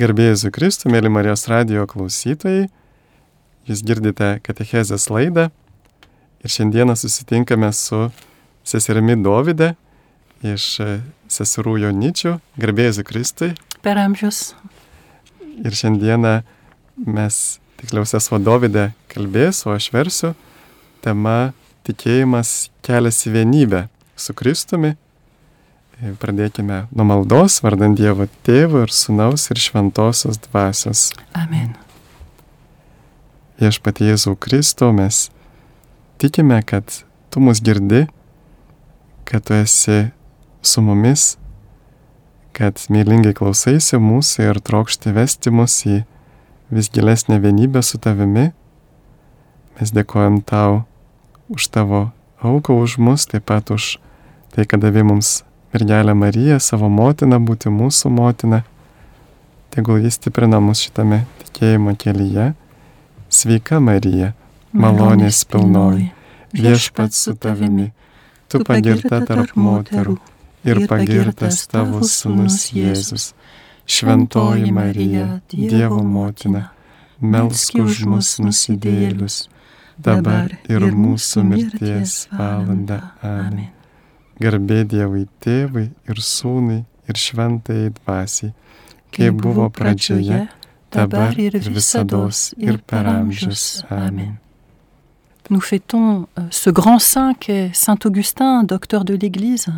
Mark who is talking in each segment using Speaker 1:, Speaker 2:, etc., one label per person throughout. Speaker 1: Gerbėjai Zukristų, mėly Marijos radio klausytojai, jūs girdite Katechezės laidą ir šiandieną susitinkame su seserimi Dovide iš e, seserų Joničių, gerbėjai Zukristui.
Speaker 2: Per amžius.
Speaker 1: Ir šiandieną mes, tiksliau, sesuo Dovide kalbės, o aš versiu, tema tikėjimas kelias į vienybę su Kristumi E, Pradėkime nuo maldos, vardant Dievo Tėvų ir Sūnaus ir Šventosios Dvasios.
Speaker 2: Amen.
Speaker 1: Iš pat Jėzų Kristo mes tikime, kad Tu mus girdi, kad Tu esi su mumis, kad mylingai klausaisi mūsų ir trokšti vesti mus į vis gilesnę vienybę su Tavimi. Mes dėkojam Tau už Tavo auką, už mus, taip pat už tai, kad davė mums mergelę Mariją, savo motiną, būti mūsų motina. Tegul jis stiprina mus šitame tikėjimo kelyje. Sveika Marija, malonės pilnoji, viešpats su tavimi, tu pagirta tarp moterų ir pagirtas tavo sunus Jėzus. Šventoji Marija, Dievo motina, melsk už mus nusidėlius, dabar ir mūsų mirties valanda. Amen. Garbė Dievui tėvui ir sūnui ir šventai dvasiai, kaip buvo pradžioje, dabar ir visada ir per amžius. Amen.
Speaker 2: Nous fêtons euh, ce grand saint qu'est Saint Augustin, docteur de l'Église.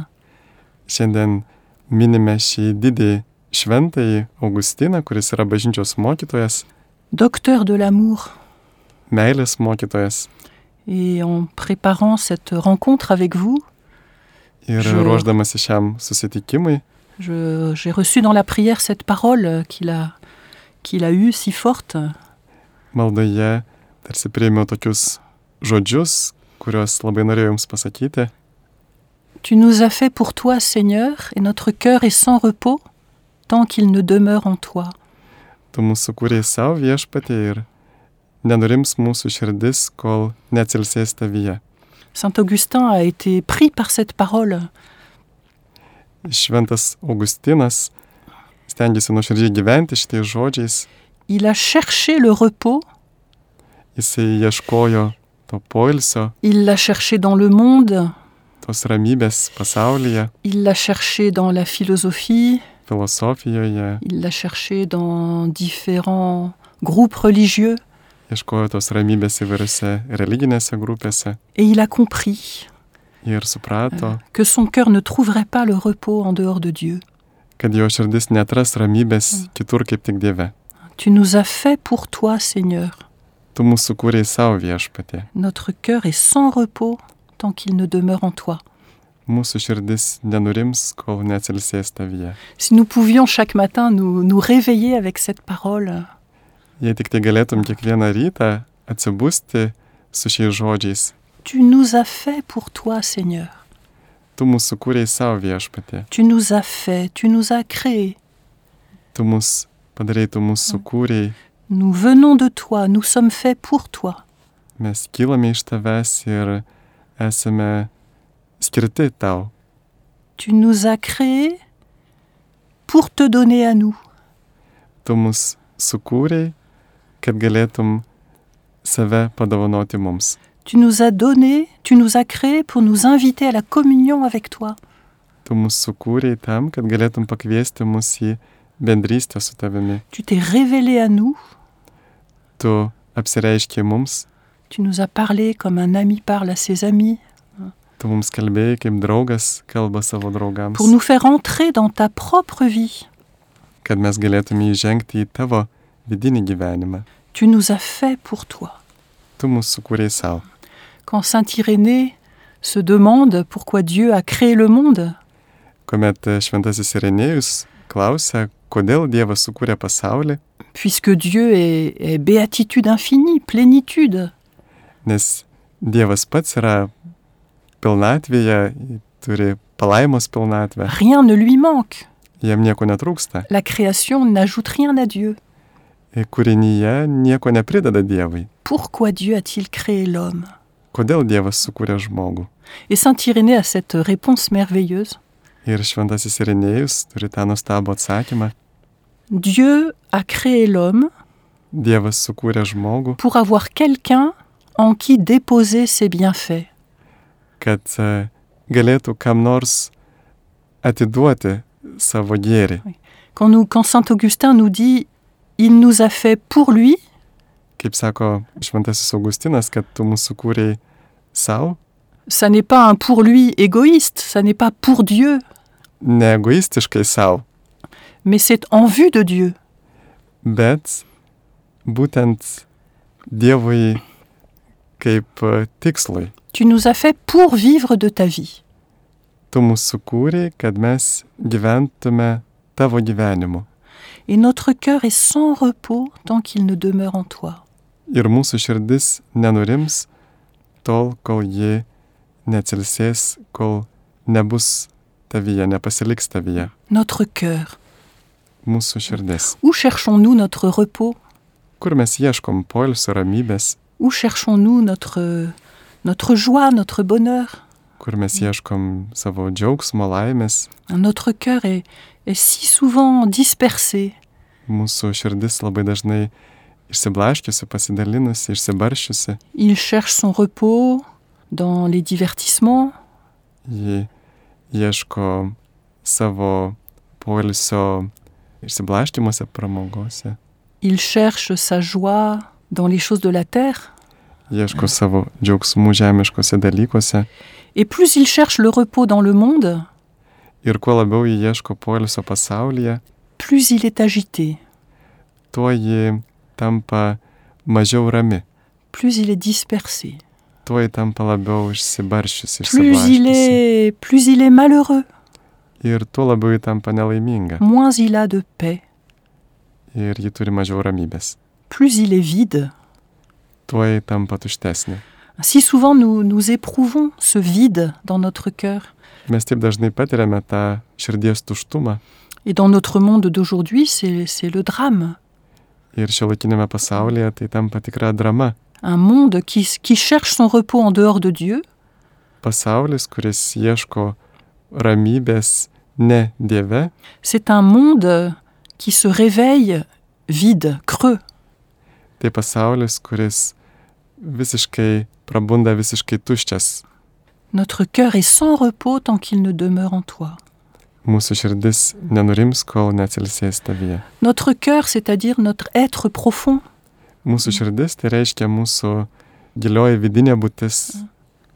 Speaker 1: Šiandien minime šį didį šventąjį Augustiną, kuris yra bažnyčios mokytojas,
Speaker 2: Docteur de l'amour.
Speaker 1: meilės mokytojas.
Speaker 2: Et en préparant cette rencontre avec vous,
Speaker 1: Ir
Speaker 2: Žinoma.
Speaker 1: ruoždamasi šiam susitikimui,
Speaker 2: je- j'ai reçu dans la prière cette parole euh, qu'il a, qu'il a eue si forte.
Speaker 1: maldoje tarsi priėmiau tokius žodžius, kuriuos labai norėjau Jums pasakyti.
Speaker 2: Tu nous as fait pour toi, Seigneur, et notre cœur est sans repos tant qu'il ne demeure en toi.
Speaker 1: Tu mūsų kūrėjai savo viešpatė ir nenurims mūsų širdis, kol neatsilsės tavyje.
Speaker 2: Saint Augustin a été pris par cette parole.
Speaker 1: Šventas Augustinas stengiasi nuoširdžiai gyventi šitais žodžiais,
Speaker 2: Il a cherché le repos,
Speaker 1: jisai ieškojo to poilsio,
Speaker 2: il l'a cherché dans le monde,
Speaker 1: tos ramybės pasaulyje,
Speaker 2: il l'a cherché dans la philosophie,
Speaker 1: filosofijoje,
Speaker 2: il l'a cherché dans différents groupes religieux,
Speaker 1: ieškojo tos ramybės įvairiose religinėse grupėse
Speaker 2: et il a compris
Speaker 1: ir suprato,
Speaker 2: que son cœur ne trouverait pas le repos en dehors de Dieu.
Speaker 1: kad jo širdis netras ramybės kitur kaip tik Dieve.
Speaker 2: Tu nous as fait pour toi, Seigneur.
Speaker 1: Tu mūsų kūrėjai savo viešpatė.
Speaker 2: Notre cœur est sans repos tant qu'il ne demeure en toi.
Speaker 1: Mūsų širdis nenurims, kol neatsilsės tavyje.
Speaker 2: Si nous pouvions chaque matin nous, nous réveiller avec cette parole,
Speaker 1: Jei tik tai galėtum kiekvieną rytą atsibusti su šiais žodžiais,
Speaker 2: tu nous as fait pour toi, Seigneur.
Speaker 1: tu mūsų kūrėjai savo viešpatė,
Speaker 2: Tu nous as fait, tu nous as créés.
Speaker 1: tu mus padarėjai, tu mūsų kūrėjai,
Speaker 2: Nous venons de toi, nous sommes faits pour toi.
Speaker 1: mes kylame iš tavęs ir esame skirti tau.
Speaker 2: Tu nous as créés pour te donner à nous.
Speaker 1: Tu mus sukūrėjai, kad galėtum save padovanoti mums.
Speaker 2: Tu nous as donné, tu nous as créés pour nous inviter à la communion avec toi.
Speaker 1: Tu mus sukūrėjai tam, kad galėtum pakviesti mus į bendrystę su tavimi.
Speaker 2: Tu t'es révélé à nous,
Speaker 1: Tu apsireiškiai mums,
Speaker 2: tu nous as parlé comme un ami parle à ses amis,
Speaker 1: tu mums kalbėjai kaip draugas kalba savo draugams.
Speaker 2: pour nous faire entrer dans ta propre vie.
Speaker 1: kad mes galėtume įžengti į tavo vidinį gyvenimą.
Speaker 2: Tu nous as fait pour toi.
Speaker 1: Tu mūsų sukūrėjai savo.
Speaker 2: Quand Saint Irénée se demande pourquoi Dieu a créé le monde,
Speaker 1: Komet e, šventasis Irenėjus klausia, kodėl Dievas sukūrė pasaulį,
Speaker 2: puisque Dieu est, est béatitude infinie, plénitude,
Speaker 1: nes Dievas pats yra pilnatvėje, turi palaimos pilnatvę,
Speaker 2: rien ne lui manque.
Speaker 1: jam nieko netrūksta.
Speaker 2: La création n'ajoute rien à Dieu.
Speaker 1: Ir kūrinyje nieko neprideda Dievui.
Speaker 2: Pourquoi Dieu a-t-il créé l'homme
Speaker 1: Kodėl Dievas sukūrė žmogų?
Speaker 2: Et Saint Irénée a cette réponse merveilleuse.
Speaker 1: Ir šventasis Irenėjus turi tą nuostabų atsakymą.
Speaker 2: Dieu a créé l'homme
Speaker 1: Dievas sukūrė žmogų,
Speaker 2: pour avoir quelqu'un en qui déposer ses bienfaits.
Speaker 1: kad e, galėtų kam nors atiduoti savo gėrį.
Speaker 2: Quand, nous, quand Saint Augustin nous dit Il nous a fait pour lui,
Speaker 1: Kaip sako Šventasis Augustinas, kad tu mus sukūrei savo,
Speaker 2: ça n'est pas un pour lui égoïste, ça n'est pas pour Dieu,
Speaker 1: ne egoistiškai savo,
Speaker 2: mais c'est en vue de Dieu.
Speaker 1: bet būtent Dievui kaip e, tikslui.
Speaker 2: Tu nous as fait pour vivre de ta vie.
Speaker 1: Tu mus sukūrei, kad mes gyventume tavo gyvenimu.
Speaker 2: Et notre cœur est sans repos tant qu'il ne demeure en toi.
Speaker 1: Ir mūsų širdis nenurims tol, kol ji neatsilsės, kol nebus tavyje, nepasiliks tavyje.
Speaker 2: Notre cœur.
Speaker 1: Mūsų širdis.
Speaker 2: Où cherchons-nous notre repos
Speaker 1: Kur mes ieškom poilsio ramybės,
Speaker 2: Où cherchons-nous notre, notre joie, notre bonheur
Speaker 1: kur mes ieškom savo džiaugsmo, laimės,
Speaker 2: Notre cœur est, est si souvent dispersé.
Speaker 1: mūsų širdis labai dažnai išsiblaškiusi, pasidalinusi, išsibaršiusi,
Speaker 2: Il cherche son repos dans les divertissements,
Speaker 1: ji ieško savo poilsio išsiblaškimuose, pramogose,
Speaker 2: il cherche sa joie dans les choses de la terre.
Speaker 1: ieško savo džiaugsmų žemiškose dalykuose
Speaker 2: Et plus il cherche le repos dans le monde,
Speaker 1: ir kuo labiau ji ieško poilsio pasaulyje,
Speaker 2: plus il est agité,
Speaker 1: tuo ji tampa mažiau rami,
Speaker 2: plus il est dispersé,
Speaker 1: tuo ji tampa labiau išsibaršiusi,
Speaker 2: plus il
Speaker 1: išsiblaškiusi
Speaker 2: est, plus il est malheureux,
Speaker 1: ir tuo labiau ji tampa nelaiminga
Speaker 2: moins il a de paix,
Speaker 1: ir ji turi mažiau ramybės,
Speaker 2: plus il est vide.
Speaker 1: tuo ji tampa tuštesnė.
Speaker 2: Si souvent nous, nous éprouvons ce vide dans notre cœur.
Speaker 1: Mes taip dažnai patiriame tą širdies tuštumą
Speaker 2: Et dans notre monde d'aujourd'hui, c'est c'est le drame.
Speaker 1: ir šiuolaikinėme pasaulyje tai tampa tikra drama.
Speaker 2: Un monde qui, s- qui cherche son repos en dehors de Dieu
Speaker 1: Pasaulis, kuris ieško ramybės ne Dieve,
Speaker 2: C'est un monde qui se réveille vide, creux.
Speaker 1: tai pasaulis, kuris visiškai prabunda visiškai tuščias.
Speaker 2: Notre cœur est sans repos tant qu'il ne demeure en toi.
Speaker 1: Mūsų širdis nenurims, kol neatsilsės tavyje.
Speaker 2: Notre cœur, c'est-à-dire notre être profond,
Speaker 1: Mūsų širdis tai reiškia mūsų gilioji vidinė būtis,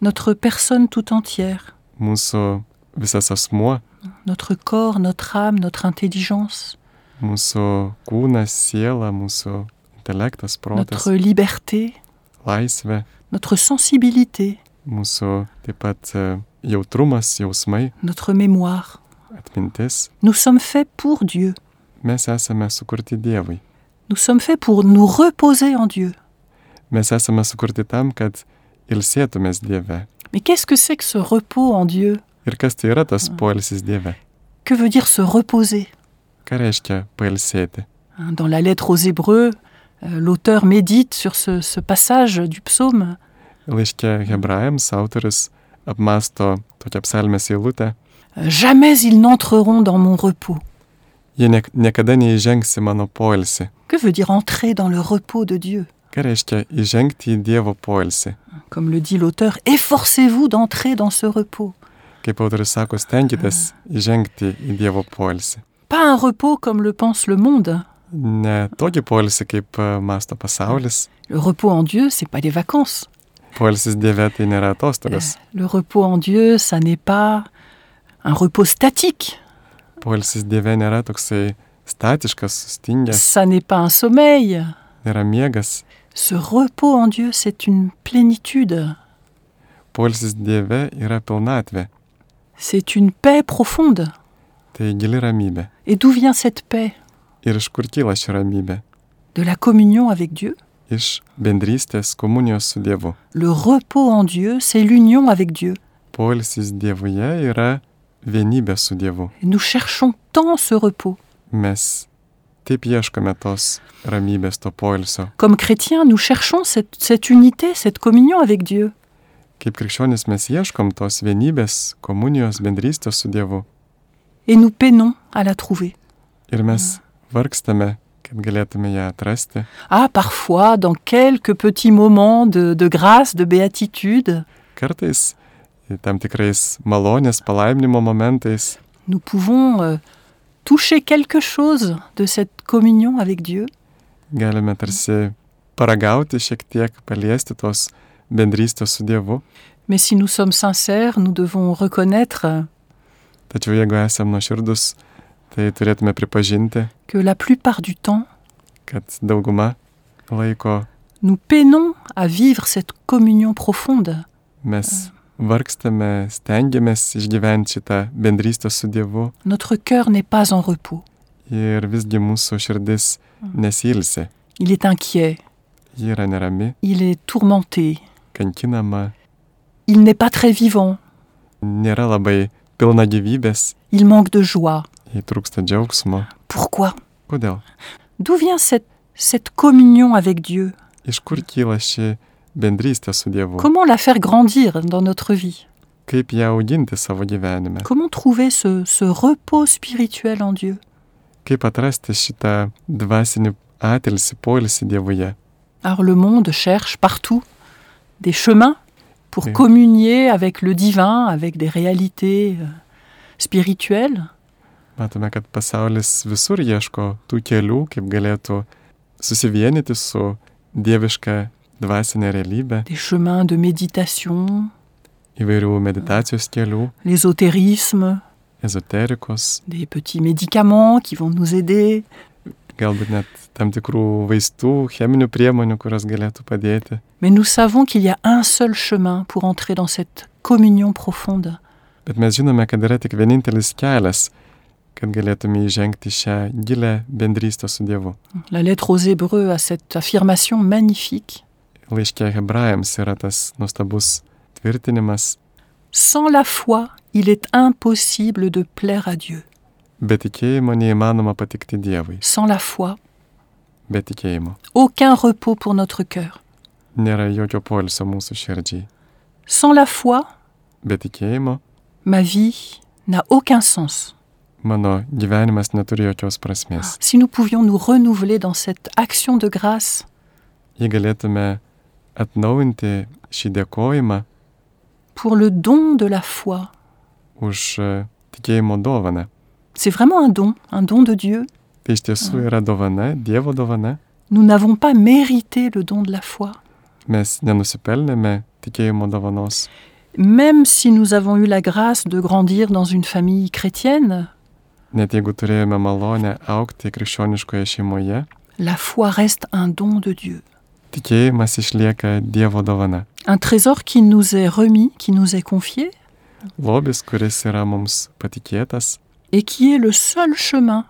Speaker 2: notre personne tout entière,
Speaker 1: mūsų visas asmuo,
Speaker 2: notre corps, notre âme, notre intelligence,
Speaker 1: mūsų kūnas, siela, mūsų intelektas, protas,
Speaker 2: notre liberté,
Speaker 1: laisvė,
Speaker 2: notre sensibilité,
Speaker 1: mūsų taip pat e, jautrumas, jausmai,
Speaker 2: notre mémoire.
Speaker 1: atmintis.
Speaker 2: Nous sommes faits pour Dieu.
Speaker 1: Mes esame sukurti Dievui.
Speaker 2: Nous sommes faits pour nous reposer en Dieu.
Speaker 1: Mes esame sukurti tam, kad ilsėtumės Dieve.
Speaker 2: Mais qu'est-ce que c'est que ce repos en Dieu
Speaker 1: Ir kas tai yra tas poilsis Dieve?
Speaker 2: Que veut dire se reposer
Speaker 1: Ką reiškia pailsėti?
Speaker 2: Hein, Dans la lettre aux Hébreux, euh, l'auteur médite sur ce, ce passage du psaume.
Speaker 1: Laiškė hebrajams autoris apmasto tokią psalmės eilutę.
Speaker 2: Euh, Jamais ils n'entreront dans mon repos.
Speaker 1: Jie niek niekada neįžengs į mano poilsį.
Speaker 2: Que veut dire entrer dans le repos de Dieu
Speaker 1: Ką reiškia įžengti į Dievo poilsį?
Speaker 2: Comme le dit l'auteur, efforcez-vous d'entrer dans ce repos.
Speaker 1: Kaip autoris sako, stenkitės įžengti į Dievo poilsį.
Speaker 2: Pas un repos comme le pense le monde.
Speaker 1: Ne tokį poilsį, kaip e, masto pasaulis.
Speaker 2: Le repos en Dieu, c'est pas des vacances. Euh,
Speaker 1: Poilsis Dieve tai nėra atostogas.
Speaker 2: Le repos en Dieu, ça n'est pas un repos statique.
Speaker 1: Poilsis Dieve nėra toksai statiškas, sustingęs,
Speaker 2: Ça n'est pas un sommeil.
Speaker 1: nėra miegas.
Speaker 2: Ce repos en Dieu, c'est une plénitude.
Speaker 1: Poilsis Dieve yra pilnatvė.
Speaker 2: C'est une paix profonde.
Speaker 1: Tai gili ramybė.
Speaker 2: Et d'où vient cette paix
Speaker 1: Ir iš kur kyla ši ramybė?
Speaker 2: de la communion avec Dieu.
Speaker 1: Iš bendrystės komunijos su Dievu.
Speaker 2: Le repos en Dieu, c'est l'union avec Dieu.
Speaker 1: Poilsis Dievuje yra vienybė su Dievu.
Speaker 2: Et Nous cherchons tant ce repos.
Speaker 1: Mes taip ieškome tos ramybės, to poilsio.
Speaker 2: Comme chrétiens, nous cherchons cette, cette unité, cette communion avec Dieu.
Speaker 1: Kaip krikščionis mes ieškom tos vienybės, komunijos, bendrystės su Dievu.
Speaker 2: Et nous peinons à la trouver.
Speaker 1: Ir mes vargstame, kad galėtume ją atrasti.
Speaker 2: Ah, parfois, dans quelques petits moments de, de grâce, de béatitude,
Speaker 1: Kartais e, tam tikrais malonės palaiminimo momentais
Speaker 2: nous pouvons euh, toucher quelque chose de cette communion avec Dieu.
Speaker 1: galime tarsi paragauti šiek tiek, paliesti tos bendrystės su Dievu.
Speaker 2: Mais si nous sommes sincères, nous devons reconnaître euh,
Speaker 1: Tačiau jeigu esame nuoširdus, tai turėtume pripažinti,
Speaker 2: que la plupart du temps,
Speaker 1: kad dauguma laiko
Speaker 2: nous peinons à vivre cette communion profonde.
Speaker 1: mes vargstame, stengiamės išgyventi šitą bendrystę su Dievu
Speaker 2: Notre cœur n'est pas en repos.
Speaker 1: ir visgi mūsų širdis nesilsi.
Speaker 2: Il est inquiet,
Speaker 1: Ji yra nerami,
Speaker 2: il est tourmenté,
Speaker 1: kankinama,
Speaker 2: il n'est pas très vivant,
Speaker 1: nėra labai pilna gyvybės,
Speaker 2: il manque de joie.
Speaker 1: jai trūksta džiaugsmo.
Speaker 2: Pourquoi
Speaker 1: Kodėl?
Speaker 2: D'où vient cette, cette communion avec Dieu
Speaker 1: Iš kur kyla ši bendrystė su Dievu?
Speaker 2: Comment la faire grandir dans notre vie
Speaker 1: Kaip ją auginti savo gyvenime?
Speaker 2: Comment trouver ce, ce repos spirituel en Dieu
Speaker 1: Kaip atrasti šitą dvasinį atilsi, poilsį Dievuje?
Speaker 2: Alors le monde cherche partout des chemins pour
Speaker 1: Oui.
Speaker 2: communier avec le divin, avec des réalités euh, spirituelles.
Speaker 1: Matome, kad pasaulis visur ieško tų kelių, kaip galėtų susivienyti su dieviška dvasinė realybė,
Speaker 2: des chemins de méditation,
Speaker 1: įvairių meditacijos kelių,
Speaker 2: l'ésotérisme,
Speaker 1: ezoterikos,
Speaker 2: des petits médicaments qui vont nous aider,
Speaker 1: galbūt net tam tikrų vaistų, cheminių priemonių, kurios galėtų padėti.
Speaker 2: mais nous savons qu'il y a un seul chemin pour entrer dans cette communion profonde,
Speaker 1: Bet mes žinome, kad yra tik vienintelis kelias, kad galėtume įžengti šią gilę bendrystę su Dievu.
Speaker 2: la lettre aux Hébreux a cette affirmation magnifique.
Speaker 1: Laiškė Hebrajams yra tas nuostabus tvirtinimas,
Speaker 2: Sans la foi, il est impossible de plaire à Dieu.
Speaker 1: be tikėjimo neįmanoma patikti Dievui,
Speaker 2: Sans la foi,
Speaker 1: be tikėjimo.
Speaker 2: aucun repos pour notre cœur.
Speaker 1: Nėra jokio poilsio mūsų širdžiai.
Speaker 2: Sans la foi,
Speaker 1: Be tikėjimo
Speaker 2: ma vie n'a aucun sens.
Speaker 1: mano gyvenimas neturi jokios prasmės.
Speaker 2: Si nous pouvions nous renouveler dans cette action de grâce,
Speaker 1: Jei galėtume atnaujinti šį dėkojimą
Speaker 2: pour le don de la foi,
Speaker 1: už e, tikėjimo dovaną,
Speaker 2: C'est vraiment un don, un don de Dieu.
Speaker 1: tai iš tiesų yra dovana, Dievo dovana.
Speaker 2: Nous n'avons pas mérité le don de la foi.
Speaker 1: Mes nenusipelnėme tikėjimo dovanos.
Speaker 2: Même si nous avons eu la grâce de grandir dans une famille chrétienne,
Speaker 1: Net jeigu turėjome malonę aukti krikščioniškoje šeimoje,
Speaker 2: la foi reste un don de Dieu.
Speaker 1: tikėjimas išlieka Dievo dovana.
Speaker 2: Un trésor qui nous est remis, qui nous est confié,
Speaker 1: Lobis, kuris yra mums patikėtas
Speaker 2: et qui est le seul chemin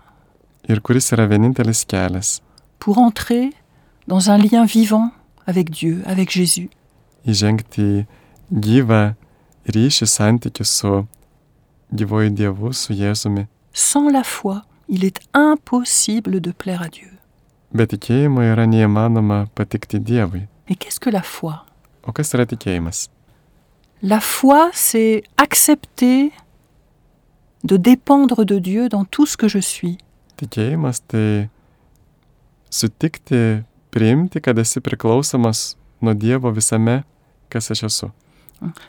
Speaker 1: ir kuris yra vienintelis kelias
Speaker 2: pour entrer dans un lien vivant avec Dieu, avec Jésus.
Speaker 1: įžengti į gyvą ryšį santykių su gyvoju Dievu, su Jėzumi.
Speaker 2: Sans la foi, il est impossible de plaire à Dieu.
Speaker 1: Be tikėjimo yra neįmanoma patikti Dievui.
Speaker 2: Et qu'est-ce que la foi
Speaker 1: O kas yra tikėjimas?
Speaker 2: La foi, c'est accepter de dépendre de Dieu dans tout ce que je suis.
Speaker 1: Tikėjimas tai sutikti, priimti, kad esi priklausomas nuo Dievo visame, kas aš esu.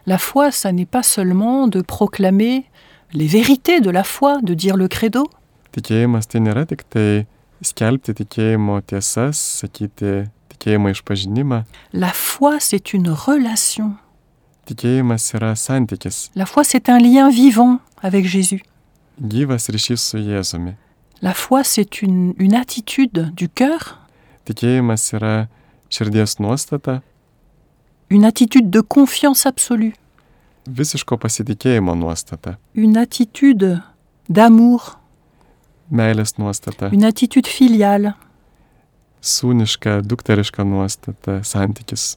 Speaker 2: La foi, ça n'est pas seulement de proclamer les vérités de la foi, de dire le credo.
Speaker 1: Tikėjimas tai nėra tik tai skelbti tikėjimo tiesas, sakyti tikėjimo išpažinimą.
Speaker 2: La foi, c'est une relation.
Speaker 1: Tikėjimas yra santykis,
Speaker 2: La foi, c'est un lien vivant avec Jésus.
Speaker 1: gyvas ryšys su Jėzumi.
Speaker 2: La foi, c'est une, une attitude du cœur,
Speaker 1: Tikėjimas yra širdies nuostata,
Speaker 2: une attitude de confiance absolue,
Speaker 1: visiško pasitikėjimo nuostata,
Speaker 2: une attitude d'amour,
Speaker 1: meilės nuostata,
Speaker 2: une attitude filiale,
Speaker 1: sūniška, dukteriška nuostata, santykis,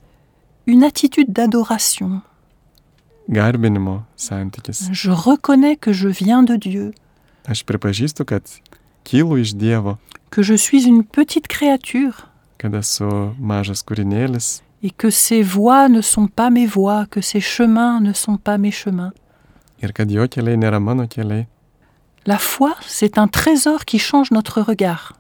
Speaker 2: une attitude d'adoration.
Speaker 1: garbinimo santykis.
Speaker 2: Je reconnais que je viens de Dieu,
Speaker 1: Aš pripažįstu, kad kylu iš Dievo,
Speaker 2: que je suis une petite créature
Speaker 1: kad esu mažas kūrinėlis,
Speaker 2: et que ses voies ne sont pas mes voies, que ses chemins ne sont pas mes chemins.
Speaker 1: ir kad jo keliai nėra mano keliai.
Speaker 2: La foi, c'est un trésor qui change notre regard.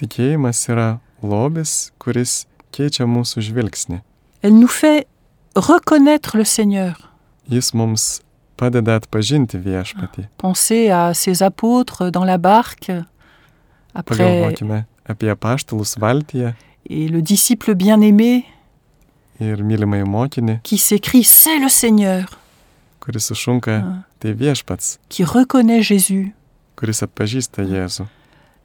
Speaker 1: Tikėjimas yra lobis, kuris keičia mūsų žvilgsnį.
Speaker 2: Elle nous fait reconnaître le Seigneur.
Speaker 1: Jis mums padeda atpažinti viešpatį.
Speaker 2: Pensez à ces apôtres dans la barque, tai après,
Speaker 1: Pagalvokime apie paštalus valtyje
Speaker 2: et le disciple bien-aimé
Speaker 1: ir mylimąjį mokinį,
Speaker 2: qui s'écrie C'est le Seigneur,
Speaker 1: kuris sušunka
Speaker 2: Ah.
Speaker 1: tai viešpats,
Speaker 2: qui reconnaît Jésus.
Speaker 1: kuris atpažįsta Jėzų.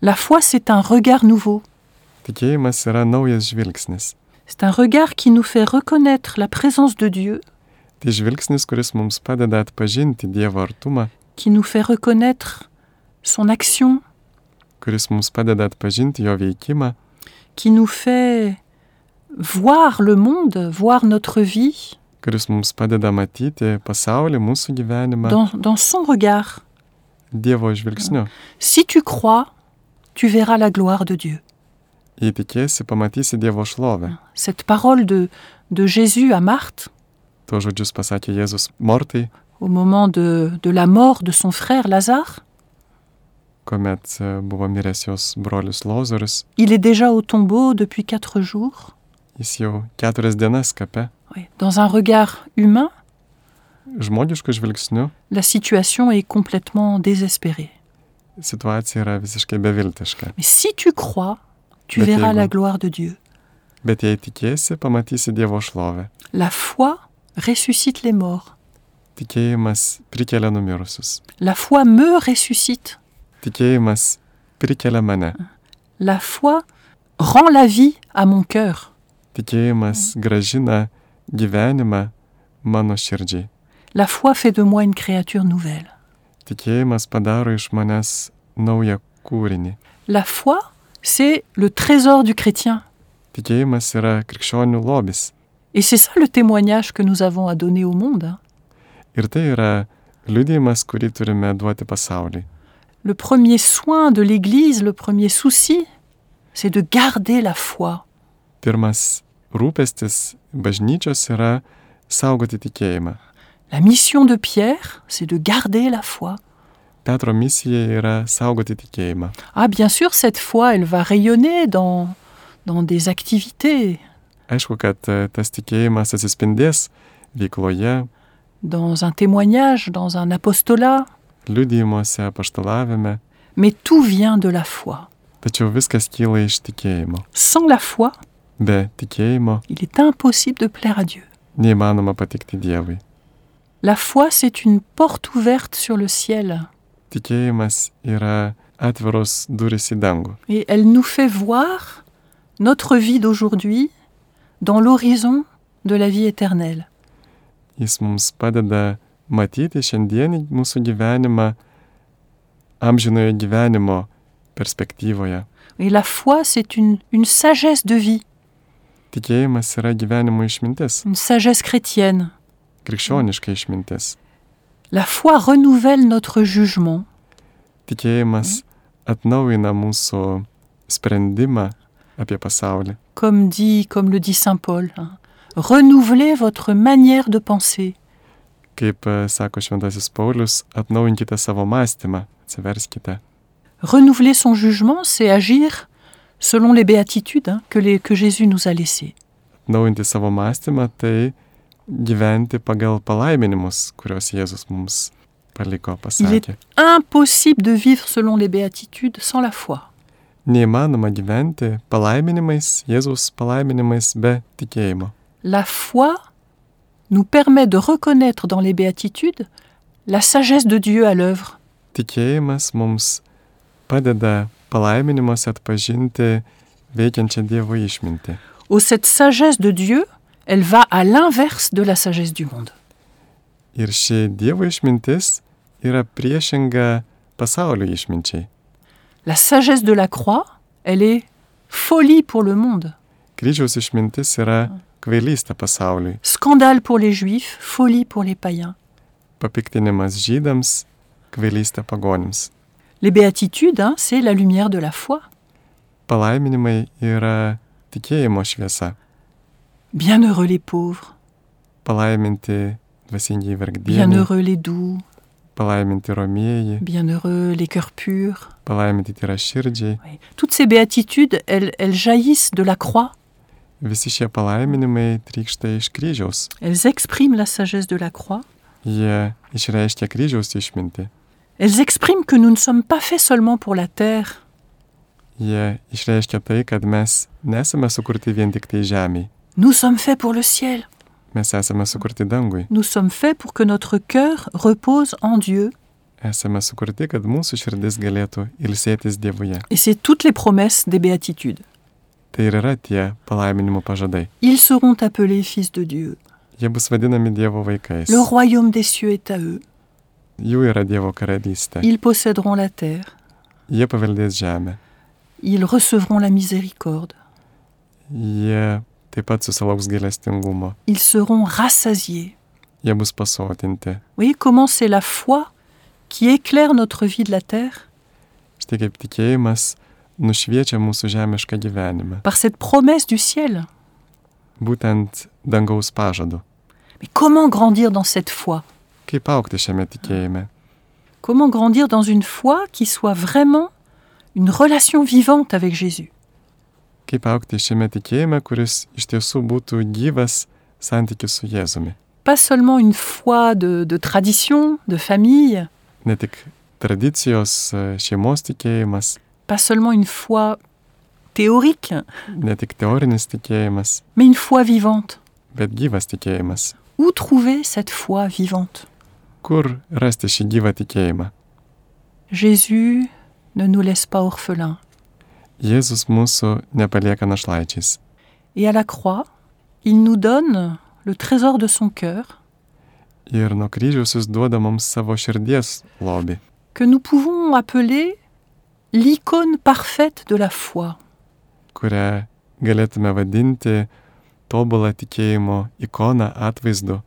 Speaker 2: La foi, c'est un regard nouveau.
Speaker 1: Tikėjimas yra naujas žvilgsnis.
Speaker 2: C'est un regard qui nous fait reconnaître la présence de Dieu,
Speaker 1: Tai žvilgsnis, kuris mums padeda atpažinti Dievo artumą,
Speaker 2: qui nous fait reconnaître son action,
Speaker 1: kuris mums padeda atpažinti jo veikimą,
Speaker 2: qui nous fait voir le monde, voir notre vie
Speaker 1: kuris mums padeda matyti pasaulį, mūsų gyvenimą
Speaker 2: dans, dans son regard.
Speaker 1: Dievo žvilgsniu.
Speaker 2: Si tu crois, tu verras la gloire de Dieu.
Speaker 1: Jei tikėsi, pamatysi Dievo šlovę.
Speaker 2: Cette parole de, de Jésus à Marthe,
Speaker 1: Tuo žodžius pasakė Jėzus Mortai,
Speaker 2: au moment de, de la mort de son frère Lazare,
Speaker 1: kuomet e, buvo miręs jos brolius Lozorius,
Speaker 2: il est déjà au tombeau depuis quatre jours.
Speaker 1: jis jau keturias dienas kape.
Speaker 2: Oui. Dans un regard humain,
Speaker 1: Žmogišku žvilgsniu
Speaker 2: la situation est complètement désespérée.
Speaker 1: situacija yra visiškai beviltiška.
Speaker 2: Mais si tu crois, tu
Speaker 1: Mais
Speaker 2: verras
Speaker 1: tellement.
Speaker 2: la gloire de Dieu.
Speaker 1: Bet jei tikėsi, pamatysi Dievo šlovę.
Speaker 2: La foi ressuscite les morts.
Speaker 1: Tikėjimas prikelia numirusius.
Speaker 2: La foi me ressuscite.
Speaker 1: Tikėjimas prikelia mane.
Speaker 2: La foi rend la vie à mon cœur.
Speaker 1: Tikėjimas gražina gyvenimą mano širdžiai.
Speaker 2: La foi fait de moi une créature nouvelle.
Speaker 1: Tikėjimas padaro iš manęs naują kūrinį.
Speaker 2: La foi, c'est le trésor du chrétien.
Speaker 1: Tikėjimas yra krikščionių lobis.
Speaker 2: Et c'est ça le témoignage que nous avons à donner au monde. hein.
Speaker 1: Ir tai yra liudijimas, kurį turime duoti pasauliui.
Speaker 2: Le premier soin de l'Église, le premier souci, c'est de garder la foi.
Speaker 1: Pirmas rūpestis bažnyčios yra saugoti tikėjimą.
Speaker 2: La mission de Pierre, c'est de garder la foi.
Speaker 1: Petro misija yra saugoti tikėjimą.
Speaker 2: Ah, bien sûr, cette foi, elle va rayonner dans, dans des activités,
Speaker 1: Aišku, kad e, tas tikėjimas atsispindės veikloje,
Speaker 2: dans un témoignage, dans un apostolat,
Speaker 1: liudijimuose, paštalavime,
Speaker 2: mais tout vient de la foi.
Speaker 1: tačiau viskas kyla iš tikėjimo.
Speaker 2: Sans la foi,
Speaker 1: Be tikėjimo
Speaker 2: il est impossible de plaire à Dieu.
Speaker 1: neįmanoma patikti Dievui.
Speaker 2: La foi, c'est une porte ouverte sur le ciel,
Speaker 1: Tikėjimas yra atviros duris į dangų.
Speaker 2: et elle nous fait voir notre vie d'aujourd'hui dans l'horizon de la vie éternelle.
Speaker 1: Jis mums padeda matyti šiandienį mūsų gyvenimą amžinojo gyvenimo perspektyvoje.
Speaker 2: Et la foi, c'est une, une sagesse de vie,
Speaker 1: Tikėjimas yra gyvenimo išmintis,
Speaker 2: une sagesse chrétienne.
Speaker 1: krikščioniška išmintis.
Speaker 2: La foi renouvelle notre jugement.
Speaker 1: Tikėjimas atnaujina mūsų sprendimą apie pasaulį.
Speaker 2: comme dit, comme le dit saint Paul, hein, renouvelez votre manière de penser.
Speaker 1: Kaip e, sako Šventasis Paulius, atnaujinkite savo mąstymą, atsiverskite.
Speaker 2: Renouveler son jugement, c'est agir selon les béatitudes hein, que, les- que Jésus nous a laissées.
Speaker 1: Atnaujinti savo mąstymą tai gyventi pagal palaiminimus, kuriuos Jėzus mums paliko, pasakė.
Speaker 2: Impossible de vivre selon les béatitudes sans la foi.
Speaker 1: Neįmanoma gyventi palaiminimais, Jėzaus palaiminimais be tikėjimo.
Speaker 2: La foi nous permet de reconnaître dans les béatitudes la sagesse de Dieu à l'œuvre.
Speaker 1: Tikėjimas mums padeda palaiminimuose atpažinti veikiančią Dievo išmintį.
Speaker 2: Oh, cette sagesse de Dieu, elle va à l'inverse de la sagesse du monde.
Speaker 1: Ir ši Dievo išmintis yra priešinga pasaulio išminčiai.
Speaker 2: La sagesse de la croix, elle est folie pour le monde.
Speaker 1: Kryžiaus išmintis yra kvailystė pasauliui,
Speaker 2: Scandale pour les juifs, folie pour les païens.
Speaker 1: papiktinimas žydams, kvailystė pagonims.
Speaker 2: Les béatitudes, hein, c'est la lumière de la foi.
Speaker 1: Palaiminimai yra tikėjimo šviesa,
Speaker 2: Bienheureux les pauvres,
Speaker 1: palaiminti dvasingiai vergdieniai,
Speaker 2: bienheureux les doux,
Speaker 1: palaiminti romieji,
Speaker 2: bienheureux, les cœurs purs.
Speaker 1: palaiminti tyraširdžiai.
Speaker 2: Oui. Toutes ces béatitudes, elles, elles jaillissent de la croix,
Speaker 1: Visi šie palaiminimai trykšta iš kryžiaus.
Speaker 2: elles expriment la sagesse de la croix,
Speaker 1: Jie išreiškia kryžiaus išmintį.
Speaker 2: elles expriment que nous ne sommes pas faits seulement pour la terre,
Speaker 1: Jie išreiškia tai, kad mes nesame sukurti vien tik tai žemiai.
Speaker 2: nous sommes faits pour le ciel,
Speaker 1: Mes esame sukurti dangui.
Speaker 2: nous sommes faits pour que notre cœur repose en Dieu.
Speaker 1: Esame sukurti, kad mūsų širdis galėtų ilsėtis Dievuje.
Speaker 2: Et c'est toutes les promesses des béatitudes.
Speaker 1: Tai ir yra tie palaiminimo pažadai.
Speaker 2: Ils seront appelés fils de Dieu,
Speaker 1: Jie bus vadinami Dievo vaikais.
Speaker 2: le royaume des cieux est à eux,
Speaker 1: Jų yra Dievo karalystė.
Speaker 2: ils posséderont la terre,
Speaker 1: Jie paveldės žemę.
Speaker 2: ils recevront la miséricorde,
Speaker 1: Jie taip pat susilauks gailestingumo.
Speaker 2: ils seront rassasiés.
Speaker 1: Jie bus pasotinti.
Speaker 2: Vous voyez comment c'est la foi qui éclaire notre vie de la terre
Speaker 1: Štai kaip tikėjimas nušviečia mūsų žemišką gyvenimą.
Speaker 2: par cette promesse du ciel.
Speaker 1: Būtent dangaus pažadu.
Speaker 2: Mais comment grandir dans cette foi
Speaker 1: Kaip aukti šiame tikėjime?
Speaker 2: Comment grandir dans une foi qui soit vraiment une relation vivante avec Jésus
Speaker 1: Kaip aukti šiame tikėjime, kuris iš tiesų būtų gyvas santykis su Jėzumi.
Speaker 2: Pas seulement une foi de, de tradition, de famille,
Speaker 1: Ne tik tradicijos e, šeimos tikėjimas,
Speaker 2: pas seulement une foi théorique,
Speaker 1: ne tik teorinis tikėjimas,
Speaker 2: mais une foi vivante.
Speaker 1: bet gyvas tikėjimas.
Speaker 2: Où trouver cette foi vivante
Speaker 1: Kur rasti šį gyvą tikėjimą?
Speaker 2: Jésus ne nous laisse pas orphelins.
Speaker 1: Jėzus mūsų nepalieka našlaičiais.
Speaker 2: Et à la croix, il nous donne le trésor de son cœur
Speaker 1: Ir nuo kryžiaus jis duoda mums savo širdies lobį.
Speaker 2: que nous pouvons appeler l'icône parfaite de la foi.
Speaker 1: kurią galėtume vadinti tobulą tikėjimo ikoną atvaizdu.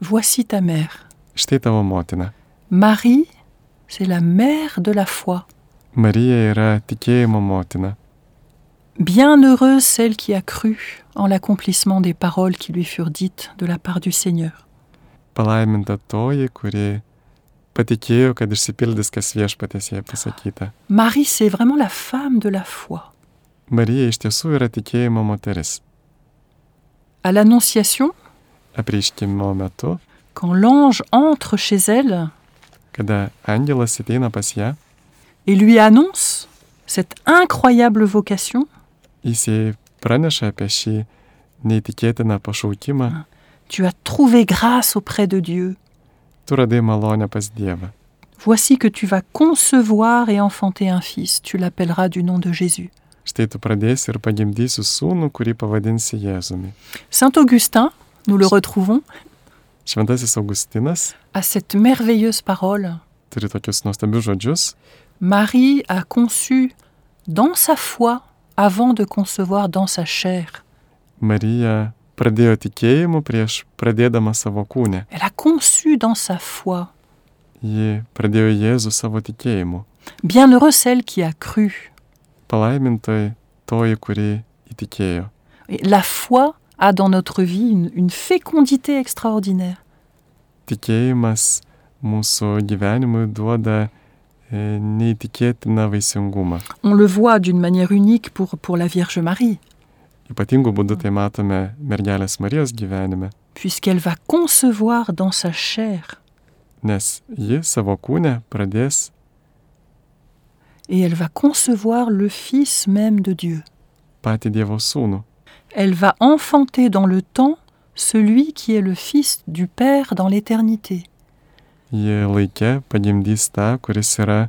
Speaker 2: Voici ta mère.
Speaker 1: Štai tavo motina.
Speaker 2: Marie, c'est la mère de la foi.
Speaker 1: Marija yra tikėjimo motina.
Speaker 2: Bienheureuse celle qui a cru en l'accomplissement des paroles qui lui furent dites de la part du Seigneur.
Speaker 1: Palaiminta toji, kuri patikėjo, kad išsipildys, kas viešpatės jai pasakyta.
Speaker 2: Marie, c'est vraiment la femme de la foi.
Speaker 1: Marija iš tiesų yra tikėjimo moteris.
Speaker 2: À l'Annonciation,
Speaker 1: Apreiškimo metu,
Speaker 2: quand l'ange entre chez elle
Speaker 1: kada angelas ateina pas ją,
Speaker 2: et lui annonce cette incroyable vocation,
Speaker 1: jis jai praneša apie šį neįtikėtiną pašaukimą,
Speaker 2: tu as trouvé grâce auprès de Dieu.
Speaker 1: tu radai malonę pas Dievą.
Speaker 2: Voici que tu vas concevoir et enfanter un fils, tu l'appelleras du nom de Jésus.
Speaker 1: Štai tu pradėsi ir pagimdysi sūnų, kurį pavadinsi Jėzumi.
Speaker 2: Saint Augustin, nous le retrouvons,
Speaker 1: Šventasis Augustinas
Speaker 2: à cette merveilleuse parole.
Speaker 1: turi tokius nuostabius žodžius.
Speaker 2: Marie a conçu dans sa foi avant de concevoir dans sa chair.
Speaker 1: Marija pradėjo tikėjimu prieš pradėdama savo kūnę.
Speaker 2: Elle a conçu dans sa foi.
Speaker 1: Ji pradėjo Jėzų savo tikėjimu.
Speaker 2: Bienheureuse celle qui a cru.
Speaker 1: Palaimintoji toji, kuri įtikėjo.
Speaker 2: Et la foi a dans notre vie une, une fécondité extraordinaire.
Speaker 1: Tikėjimas mūsų gyvenimui duoda e, neįtikėtiną vaisingumą.
Speaker 2: On le voit d'une manière unique pour, pour la Vierge Marie,
Speaker 1: Ypatingų būdų tai matome mergelės Marijos gyvenime,
Speaker 2: puisqu'elle va concevoir dans sa chair.
Speaker 1: nes ji savo kūnę pradės
Speaker 2: et elle va concevoir le Fils même de Dieu.
Speaker 1: patį Dievo sūnų.
Speaker 2: Elle va enfanter dans le temps celui qui est le Fils du Père dans l'éternité.
Speaker 1: Ji laikė pagimdys tą, kuris yra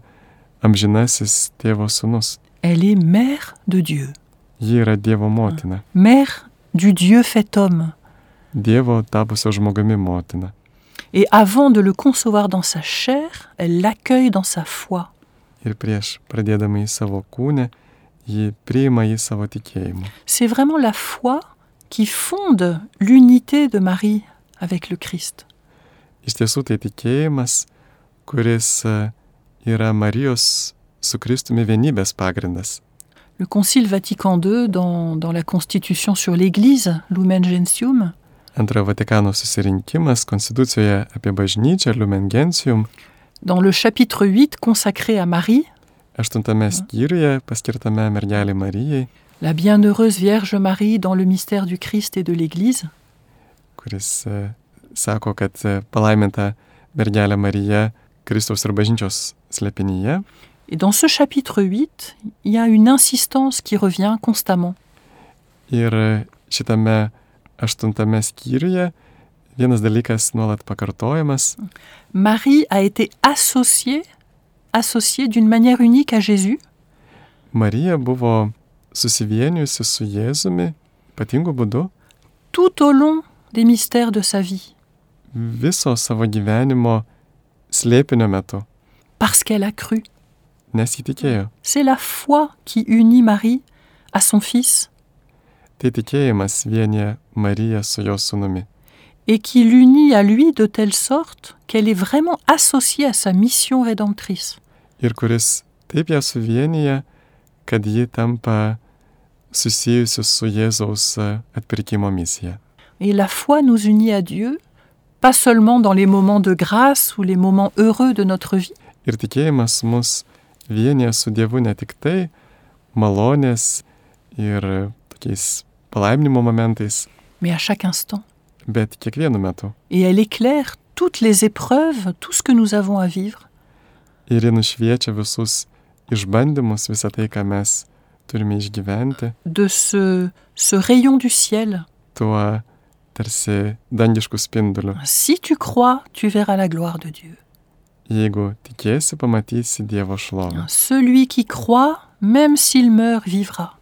Speaker 1: amžinasis tėvo sūnus.
Speaker 2: Elle est mère de Dieu,
Speaker 1: Ji yra Dievo motina,
Speaker 2: mère du Dieu fait homme.
Speaker 1: Dievo tapusio žmogumi motina.
Speaker 2: Et avant de le concevoir dans sa chair, elle l'accueille dans sa foi.
Speaker 1: Ir prieš pradėdama į savo kūnę, ji priima į savo tikėjimą.
Speaker 2: C'est vraiment la foi qui fonde l'unité de Marie avec le Christ.
Speaker 1: Iš tiesų tai tikėjimas, kuris e, yra Marijos su Kristumi vienybės pagrindas.
Speaker 2: Le Concile Vatican II, dans, dans la Constitution sur l'Église, Lumen Gentium,
Speaker 1: antrojo Vatikano susirinkimas konstitucijoje apie bažnyčią Lumen Gentium
Speaker 2: Dans le chapitre 8 consacré à Marie,
Speaker 1: aštuntame skyriuje paskirtame mergelį Marijai,
Speaker 2: la bienheureuse Vierge Marie dans le mystère du Christ et de l'Église,
Speaker 1: kuris e, sako, kad e, palaiminta mergelė Marija Kristaus ir bažnyčios slepinyje.
Speaker 2: et dans ce chapitre 8, il y a une insistance qui revient constamment.
Speaker 1: Ir e, šitame aštuntame skyriuje vienas dalykas nuolat pakartojamas,
Speaker 2: Marie a été associée, associée d'une manière unique à Jésus,
Speaker 1: Marija buvo susivienijusi su Jėzumi ypatingu būdu
Speaker 2: tout au long des mystères de sa vie,
Speaker 1: viso savo gyvenimo slėpinio metu,
Speaker 2: parce qu'elle a cru.
Speaker 1: nes jį tikėjo.
Speaker 2: C'est la foi qui unit Marie à son Fils
Speaker 1: Tai tikėjimas vienyje Mariją su jos sunumi.
Speaker 2: et qui l'unit à lui de telle sorte qu'elle est vraiment associée à sa mission rédemptrice.
Speaker 1: ir kuris taip ją suvienyje, kad ji tampa susijusi su Jėzaus e, atpirkimo misija.
Speaker 2: Et la foi nous unit à Dieu, pas seulement dans les moments de grâce ou les moments heureux de notre vie,
Speaker 1: Ir tikėjimas mus vienyje su Dievu ne tik tai malonės ir e, tokiais palaiminimo momentais,
Speaker 2: mais à chaque instant.
Speaker 1: bet kiekvienu metu.
Speaker 2: Et elle éclaire toutes les épreuves, tout ce que nous avons à vivre.
Speaker 1: Ir ji nušviečia visus išbandymus, visą tai, ką mes turime išgyventi,
Speaker 2: De ce, ce rayon du ciel,
Speaker 1: tuo tarsi dangišku spinduliu.
Speaker 2: si tu crois, tu verras la gloire de Dieu.
Speaker 1: Jeigu tikėsi, pamatysi Dievo šlovę.
Speaker 2: Celui qui croit, même s'il meurt, vivra.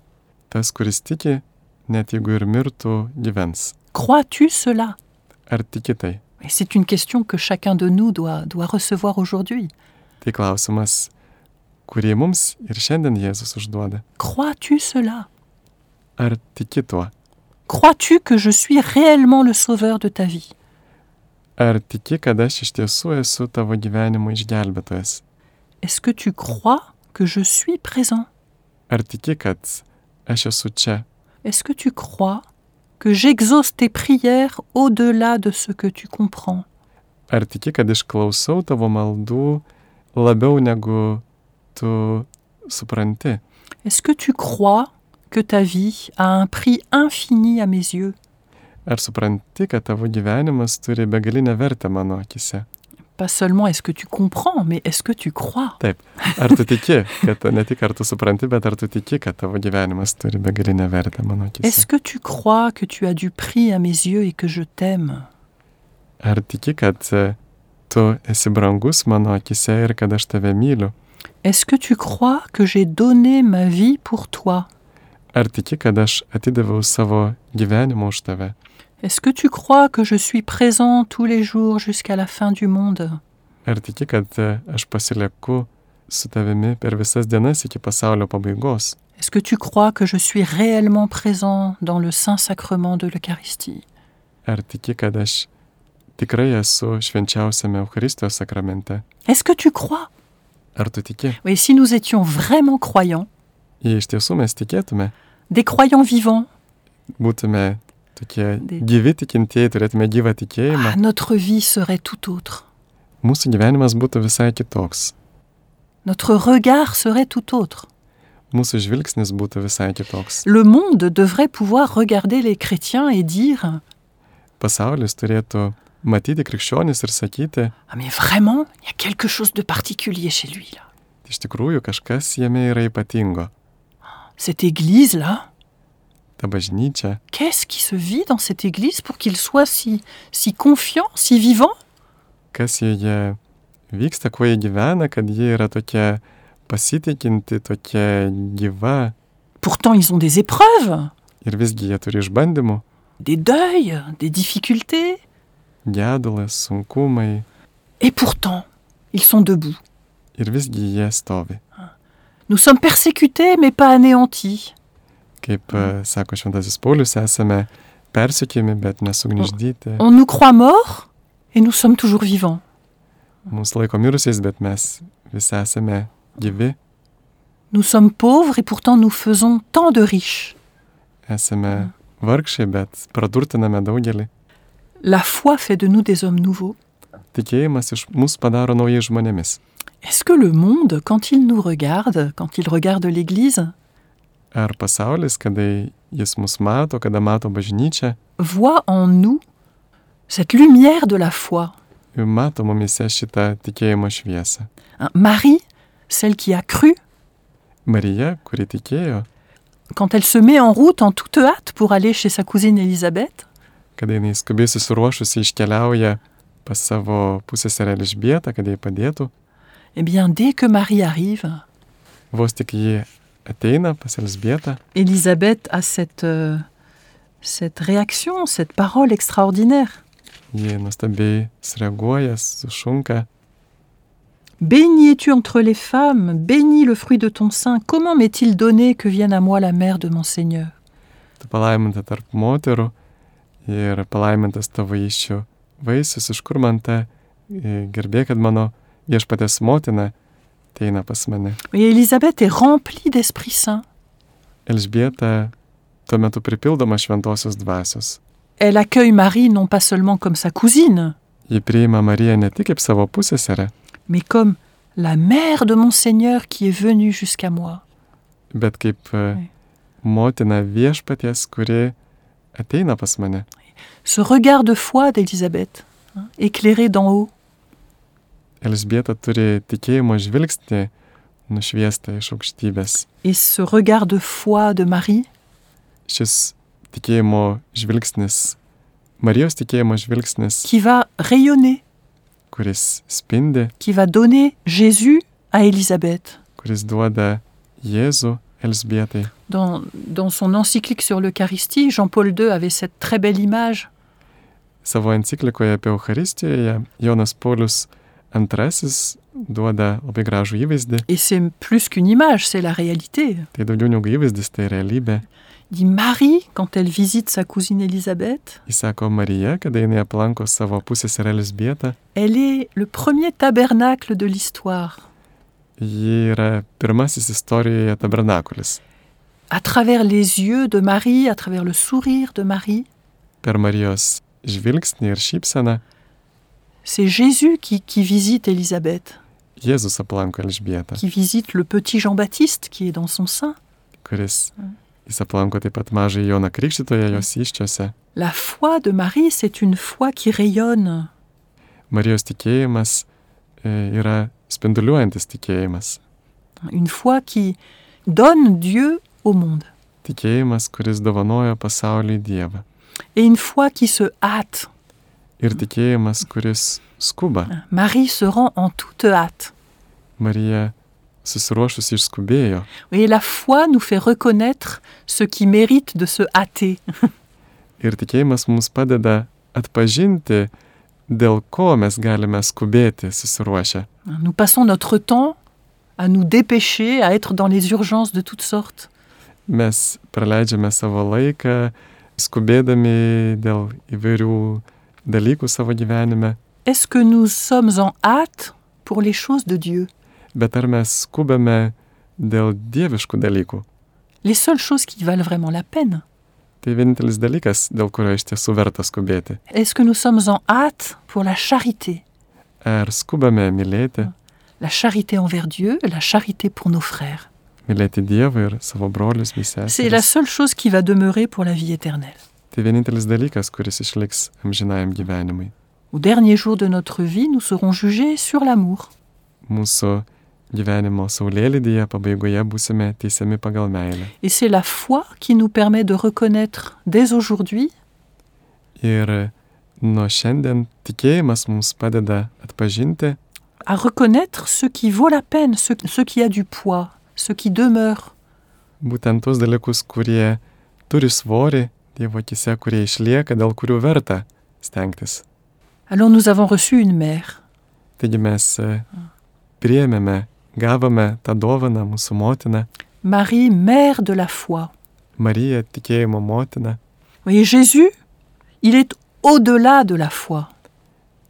Speaker 1: tas, kuris tiki, net jeigu ir mirtų, gyvens.
Speaker 2: Crois-tu cela
Speaker 1: Ar tiki tai?
Speaker 2: Et c'est une question que chacun de nous doit, doit recevoir aujourd'hui.
Speaker 1: Tai klausimas, kurį mums ir šiandien Jėzus užduoda.
Speaker 2: Crois-tu cela
Speaker 1: Ar tiki tuo?
Speaker 2: Crois-tu que je suis réellement le sauveur de ta vie
Speaker 1: Ar tiki, kad aš iš tiesų esu tavo gyvenimo išgelbėtojas?
Speaker 2: Est-ce que tu crois que je suis présent
Speaker 1: Ar tiki, kad aš esu čia?
Speaker 2: Est-ce que tu crois que j'exauce tes prières au-delà de ce que tu comprends
Speaker 1: Ar tiki, kad išklausau tavo maldų labiau negu tu supranti?
Speaker 2: Est-ce que tu crois que ta vie a un prix infini à mes yeux
Speaker 1: Ar supranti, kad tavo gyvenimas turi begalinę vertę mano akise?
Speaker 2: Pas seulement est-ce que tu comprends, mais est-ce que tu crois
Speaker 1: Ar tu tiki, kad ne tik ar tu supranti, bet ar tu tiki, kad tavo gyvenimas turi begalinę vertę, mano akise?
Speaker 2: Est-ce que tu crois que tu as du prix à mes yeux et que je t'aime
Speaker 1: Ar tiki, kad e, tu esi brangus mano akise ir kad aš tave myliu?
Speaker 2: Est-ce que tu crois que j'ai donné ma vie pour toi
Speaker 1: Ar tiki, kad aš atidaviau savo gyvenimą už tave?
Speaker 2: Est-ce que tu crois que je suis présent tous les jours jusqu'à la fin du monde
Speaker 1: Ar tiki, kad e, aš pasilieku su tavimi per visas dienas iki pasaulio pabaigos?
Speaker 2: Est-ce que tu crois que je suis réellement présent dans le Saint-Sacrement de l'Eucharistie
Speaker 1: Ar tiki, kad aš tikrai esu švenčiausiame Eucharistijos sakramente?
Speaker 2: Est-ce que tu crois
Speaker 1: Ar tu tiki?
Speaker 2: Et si nous étions vraiment croyants,
Speaker 1: Jei iš tiesų mes tikėtume,
Speaker 2: des croyants vivants,
Speaker 1: būtume tokie
Speaker 2: Dė-
Speaker 1: gyvi tikintieji, turėtume gyvą tikėjimą,
Speaker 2: ah, notre vie serait tout autre.
Speaker 1: mūsų gyvenimas būtų visai kitoks,
Speaker 2: Notre regard serait tout autre.
Speaker 1: mūsų žvilgsnis būtų visai kitoks.
Speaker 2: Le monde devrait pouvoir regarder les chrétiens et dire
Speaker 1: Pasaulis turėtų matyti krikščionis ir sakyti,
Speaker 2: Ah mais vraiment, il y a quelque chose de particulier chez lui là.
Speaker 1: iš tikrųjų kažkas jame yra ypatingo.
Speaker 2: Cette église là,
Speaker 1: Ta bažnyčia,
Speaker 2: qu'est-ce qui se vit dans cette église pour qu'il soit si si confiant, si vivant
Speaker 1: kas joje vyksta, kuo jie gyvena, kad jie yra tokia pasitikinti, tokia gyva
Speaker 2: Pourtant, ils ont des épreuves,
Speaker 1: ir visgi jie turi išbandymų,
Speaker 2: des deuils, des difficultés
Speaker 1: gedulas, sunkumai
Speaker 2: et pourtant, ils sont debout.
Speaker 1: ir visgi jie stovi.
Speaker 2: Nous sommes persécutés mais pas anéantis.
Speaker 1: Kaip e, sako Šventasis Paulius, esame persikimi, bet nesugniždyti.
Speaker 2: On nous croit morts et nous sommes toujours vivants.
Speaker 1: Mūsų laiko mirusiais, bet mes visi esame gyvi,
Speaker 2: Nous sommes pauvres et pourtant nous faisons tant de riches.
Speaker 1: esame vargšai, bet pradurtiname daugelį.
Speaker 2: La foi fait de nous des hommes nouveaux.
Speaker 1: Tikėjimas iš mus padaro naujais žmonėmis.
Speaker 2: Est-ce que le monde, quand il nous regarde, quand il regarde l'Église,
Speaker 1: Ar pasaulis, kada jis mus mato, kada mato bažnyčią,
Speaker 2: voit en nous cette lumière de la foi
Speaker 1: mato mumise šitą tikėjimo šviesą.
Speaker 2: Hein, Marie, celle qui a cru,
Speaker 1: Marija, kuri tikėjo,
Speaker 2: quand elle se met en route en toute hâte pour aller chez sa cousine Élisabeth,
Speaker 1: kada jinai skubiai susiruošusi iškeliauja pas savo pusėserę Elžbietą, kad jai padėtų,
Speaker 2: eh bien, dès que Marie arrive,
Speaker 1: vos tik ji ateina pas Elžbietą,
Speaker 2: Élisabeth a cette, euh, cette réaction, cette parole extraordinaire.
Speaker 1: ji nuostabiai sureaguoja, sušunka,
Speaker 2: Bénie tu entre les femmes, béni le fruit de ton sein. Comment m'est-il donné que vienne à moi la mère de mon Seigneur
Speaker 1: tu palaiminta tarp moterų ir palaimintas tavo iššių vaisius, iš kur man ta e, garbė, kad mano viešpatės motina ateina pas mane.
Speaker 2: Et Élisabeth est remplie d'Esprit Saint.
Speaker 1: Elžbieta tuo metu pripildoma šventosios dvasios.
Speaker 2: Elle accueille Marie non pas seulement comme sa cousine,
Speaker 1: Ji priima Mariją ne tik kaip savo pusėserę,
Speaker 2: mais comme la mère de mon Seigneur qui est venue jusqu'à moi.
Speaker 1: bet kaip e, motina viešpaties, kuri ateina pas mane.
Speaker 2: Ce regard de foi d'Élisabeth, hein, éclairé d'en haut.
Speaker 1: Elžbieta turi tikėjimo žvilgsnį nušviestą iš aukštybės.
Speaker 2: Et ce regard de foi de Marie,
Speaker 1: šis tikėjimo žvilgsnis, Marijos tikėjimo žvilgsnis,
Speaker 2: qui va rayonner,
Speaker 1: kuris spindi,
Speaker 2: qui va donner Jésus à Élisabeth.
Speaker 1: kuris duoda Jėzų Elsbietai.
Speaker 2: Dans, dans son encyclique sur l'Eucharistie, Jean-Paul II avait cette très belle image.
Speaker 1: Savo enciklikoje apie Euharistijoje Jonas Paulius II duoda labai gražų įvaizdį,
Speaker 2: Et c'est plus qu'une image, c'est la réalité.
Speaker 1: tai daugiau negu įvaizdis, tai realybė.
Speaker 2: Il dit Marie, quand elle visite sa cousine Élisabeth,
Speaker 1: Jis sako Marija, kada jinai aplanko savo pusės ir Elsbietą,
Speaker 2: elle est le premier tabernacle de l'histoire.
Speaker 1: ji yra pirmasis istorijoje tabernakulis.
Speaker 2: À travers les yeux de Marie, à travers le sourire de Marie,
Speaker 1: Per Marijos žvilgsnį ir šypseną
Speaker 2: c'est Jésus qui, qui visite Élisabeth,
Speaker 1: Jėzus aplanko Elsbietą.
Speaker 2: qui visite le petit Jean-Baptiste qui est dans son sein.
Speaker 1: kuris
Speaker 2: Mm.
Speaker 1: jis aplanko taip pat mažai Joną Krikščitoje, jos iščiose.
Speaker 2: La foi de Marie, c'est une foi qui rayonne.
Speaker 1: Marijos tikėjimas e, yra spinduliuojantis tikėjimas.
Speaker 2: Une foi qui donne Dieu au monde.
Speaker 1: Tikėjimas, kuris dovanoja pasauliui Dievą.
Speaker 2: Et une foi qui se hâte.
Speaker 1: Ir tikėjimas, kuris skuba.
Speaker 2: Marie se rend en toute hâte.
Speaker 1: Marija susiruošusi išskubėjo.
Speaker 2: Et la foi nous fait reconnaître ce qui mérite de se hâter.
Speaker 1: Ir tikėjimas mums padeda atpažinti, dėl ko mes galime skubėti susiruošę.
Speaker 2: Nous passons notre temps à nous dépêcher, à être dans les urgences de toutes sortes.
Speaker 1: Mes praleidžiame savo laiką skubėdami dėl įvairių dalykų savo gyvenime.
Speaker 2: Est-ce que nous sommes en hâte pour les choses de Dieu
Speaker 1: bet ar mes skubame dėl dieviškų dalykų?
Speaker 2: Les seules choses qui valent vraiment la peine.
Speaker 1: Tai vienintelis dalykas, dėl kurio iš tiesų verta skubėti.
Speaker 2: Est-ce que nous sommes en hâte pour la charité
Speaker 1: Ar skubame mylėti,
Speaker 2: La charité envers Dieu, la charité pour nos frères.
Speaker 1: mylėti Dievą ir savo brolius bei
Speaker 2: C'est la
Speaker 1: seseris.
Speaker 2: seule chose qui va demeurer pour la vie éternelle.
Speaker 1: Tai vienintelis dalykas, kuris išliks amžinajam gyvenimui.
Speaker 2: Au dernier jour de notre vie, nous serons jugés sur l'amour.
Speaker 1: Mūsų gyvenimo saulėlydyje pabaigoje būsime teisiami pagal meilę.
Speaker 2: Et c'est la foi qui nous permet de reconnaître dès aujourd'hui
Speaker 1: Ir nuo šiandien tikėjimas mums padeda atpažinti,
Speaker 2: à reconnaître ce qui vaut la peine, ce, ce qui a du poids, ce qui demeure.
Speaker 1: būtent tuos dalykus, kurie turi svorį Dievo akise, kurie išlieka, dėl kurių verta stengtis.
Speaker 2: Alors nous avons reçu une mère.
Speaker 1: Taigi mes e, priėmėme, gavome tą dovaną mūsų motiną,
Speaker 2: Marie, mère de la foi.
Speaker 1: Mariją tikėjimo motiną.
Speaker 2: Vous voyez, Jésus, il est au-delà de la foi.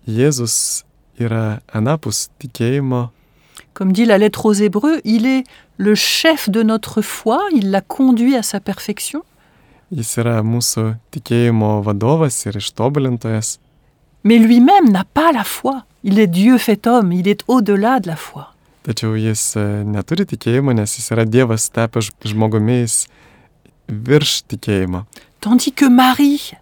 Speaker 1: Jėzus yra anapus tikėjimo,
Speaker 2: Comme dit la lettre aux Hébreux, il est le chef de notre foi, il la conduit à sa perfection.
Speaker 1: jis yra mūsų tikėjimo vadovas ir ištobulintojas.
Speaker 2: mais lui-même n'a pas la foi. Il est Dieu fait homme, il est au-delà de la foi.
Speaker 1: Tačiau jis e, neturi tikėjimo, nes jis yra Dievas tapęs ž- žmogumi jis virš tikėjimo.
Speaker 2: Tandis que Marie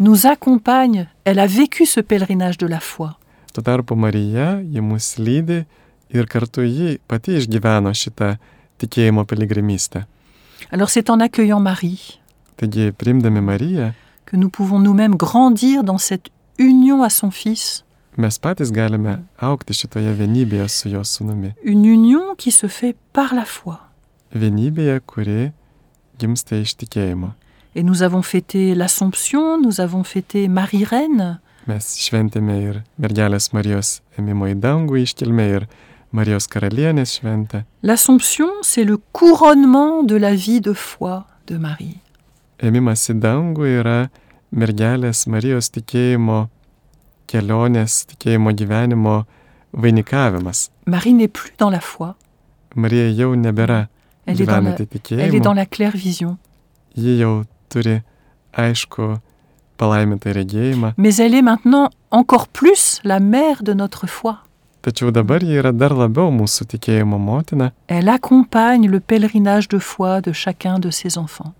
Speaker 2: nous accompagne, elle a vécu ce pèlerinage de la foi.
Speaker 1: Tuo tarpu Marija, ji mus lydi ir kartu ji pati išgyveno šitą tikėjimo piligrimystę.
Speaker 2: Alors c'est en accueillant Marie
Speaker 1: Taigi, priimdami Mariją,
Speaker 2: que nous pouvons nous-mêmes grandir dans cette union à son Fils,
Speaker 1: mes patys galime aukti šitoje vienybėje su jos sunumi.
Speaker 2: une union qui se fait par la foi.
Speaker 1: Vienybėje, kuri gimsta iš tikėjimo.
Speaker 2: Et nous avons fêté l'Assomption, nous avons fêté Marie-Reine,
Speaker 1: Mes šventėme ir mergelės Marijos ėmimo į dangų iškilmę ir Marijos karalienės šventę.
Speaker 2: L'Assomption, c'est le couronnement de la vie de foi de Marie.
Speaker 1: Ėmimas į dangų yra mergelės Marijos tikėjimo kelionės, tikėjimo gyvenimo vainikavimas.
Speaker 2: Marie n'est plus dans la foi,
Speaker 1: Marija jau nebėra
Speaker 2: elle est dans la,
Speaker 1: gyvenanti
Speaker 2: elle est
Speaker 1: tikėjimu.
Speaker 2: dans la claire vision,
Speaker 1: Ji jau turi aišku palaimintą regėjimą,
Speaker 2: mais elle est maintenant encore plus la mère de notre foi.
Speaker 1: tačiau dabar ji yra dar labiau mūsų tikėjimo motina.
Speaker 2: Elle accompagne le pèlerinage de foi de chacun de ses enfants.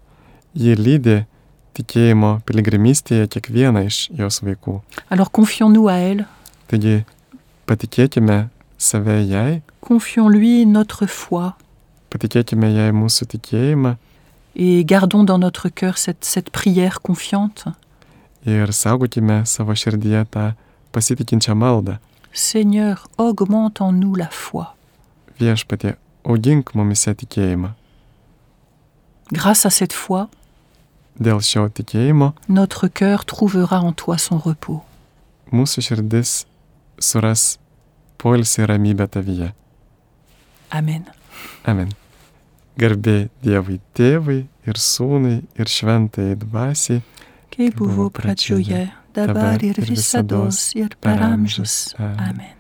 Speaker 1: Ji lydi tikėjimo piligrimystėje kiekvieną iš jos vaikų.
Speaker 2: Alors confions-nous à elle,
Speaker 1: Taigi patikėkime save jai,
Speaker 2: confions-lui notre foi
Speaker 1: patikėkime jai mūsų tikėjimą
Speaker 2: et gardons dans notre cœur cette, cette prière confiante.
Speaker 1: ir saugokime savo širdyje tą pasitikinčią maldą.
Speaker 2: Seigneur, augmente en nous la foi.
Speaker 1: Viešpatie, augink mumise tikėjimą.
Speaker 2: Grâce à cette foi,
Speaker 1: Dėl šio tikėjimo
Speaker 2: notre cœur trouvera en toi son repos.
Speaker 1: mūsų širdis suras poilsį ir ramybę tavyje.
Speaker 2: Amen.
Speaker 1: Amen. Garbė Dievui tėvui ir sūnui ir šventai dvasiai.
Speaker 2: Kaip
Speaker 1: buvo
Speaker 2: buvo pradžioje, dabar ir visados, ir per amžius.
Speaker 1: Amen.
Speaker 2: Amen.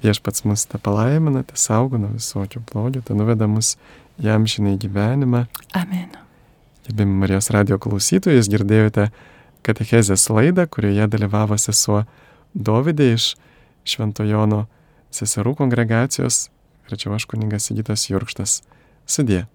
Speaker 1: Viešpats mus tą palaimina, tą saugo nuo visokių blogių, tą nuveda mus jam žinai gyvenimą.
Speaker 2: Amen.
Speaker 1: Gerbimi Marijos radio klausytojus, girdėjote katechezės laidą, kurioje dalyvavo sesuo Dovydė iš Šventojono seserų kongregacijos, rečiau aš kuningas Sigitas Jurkštas. Sudie.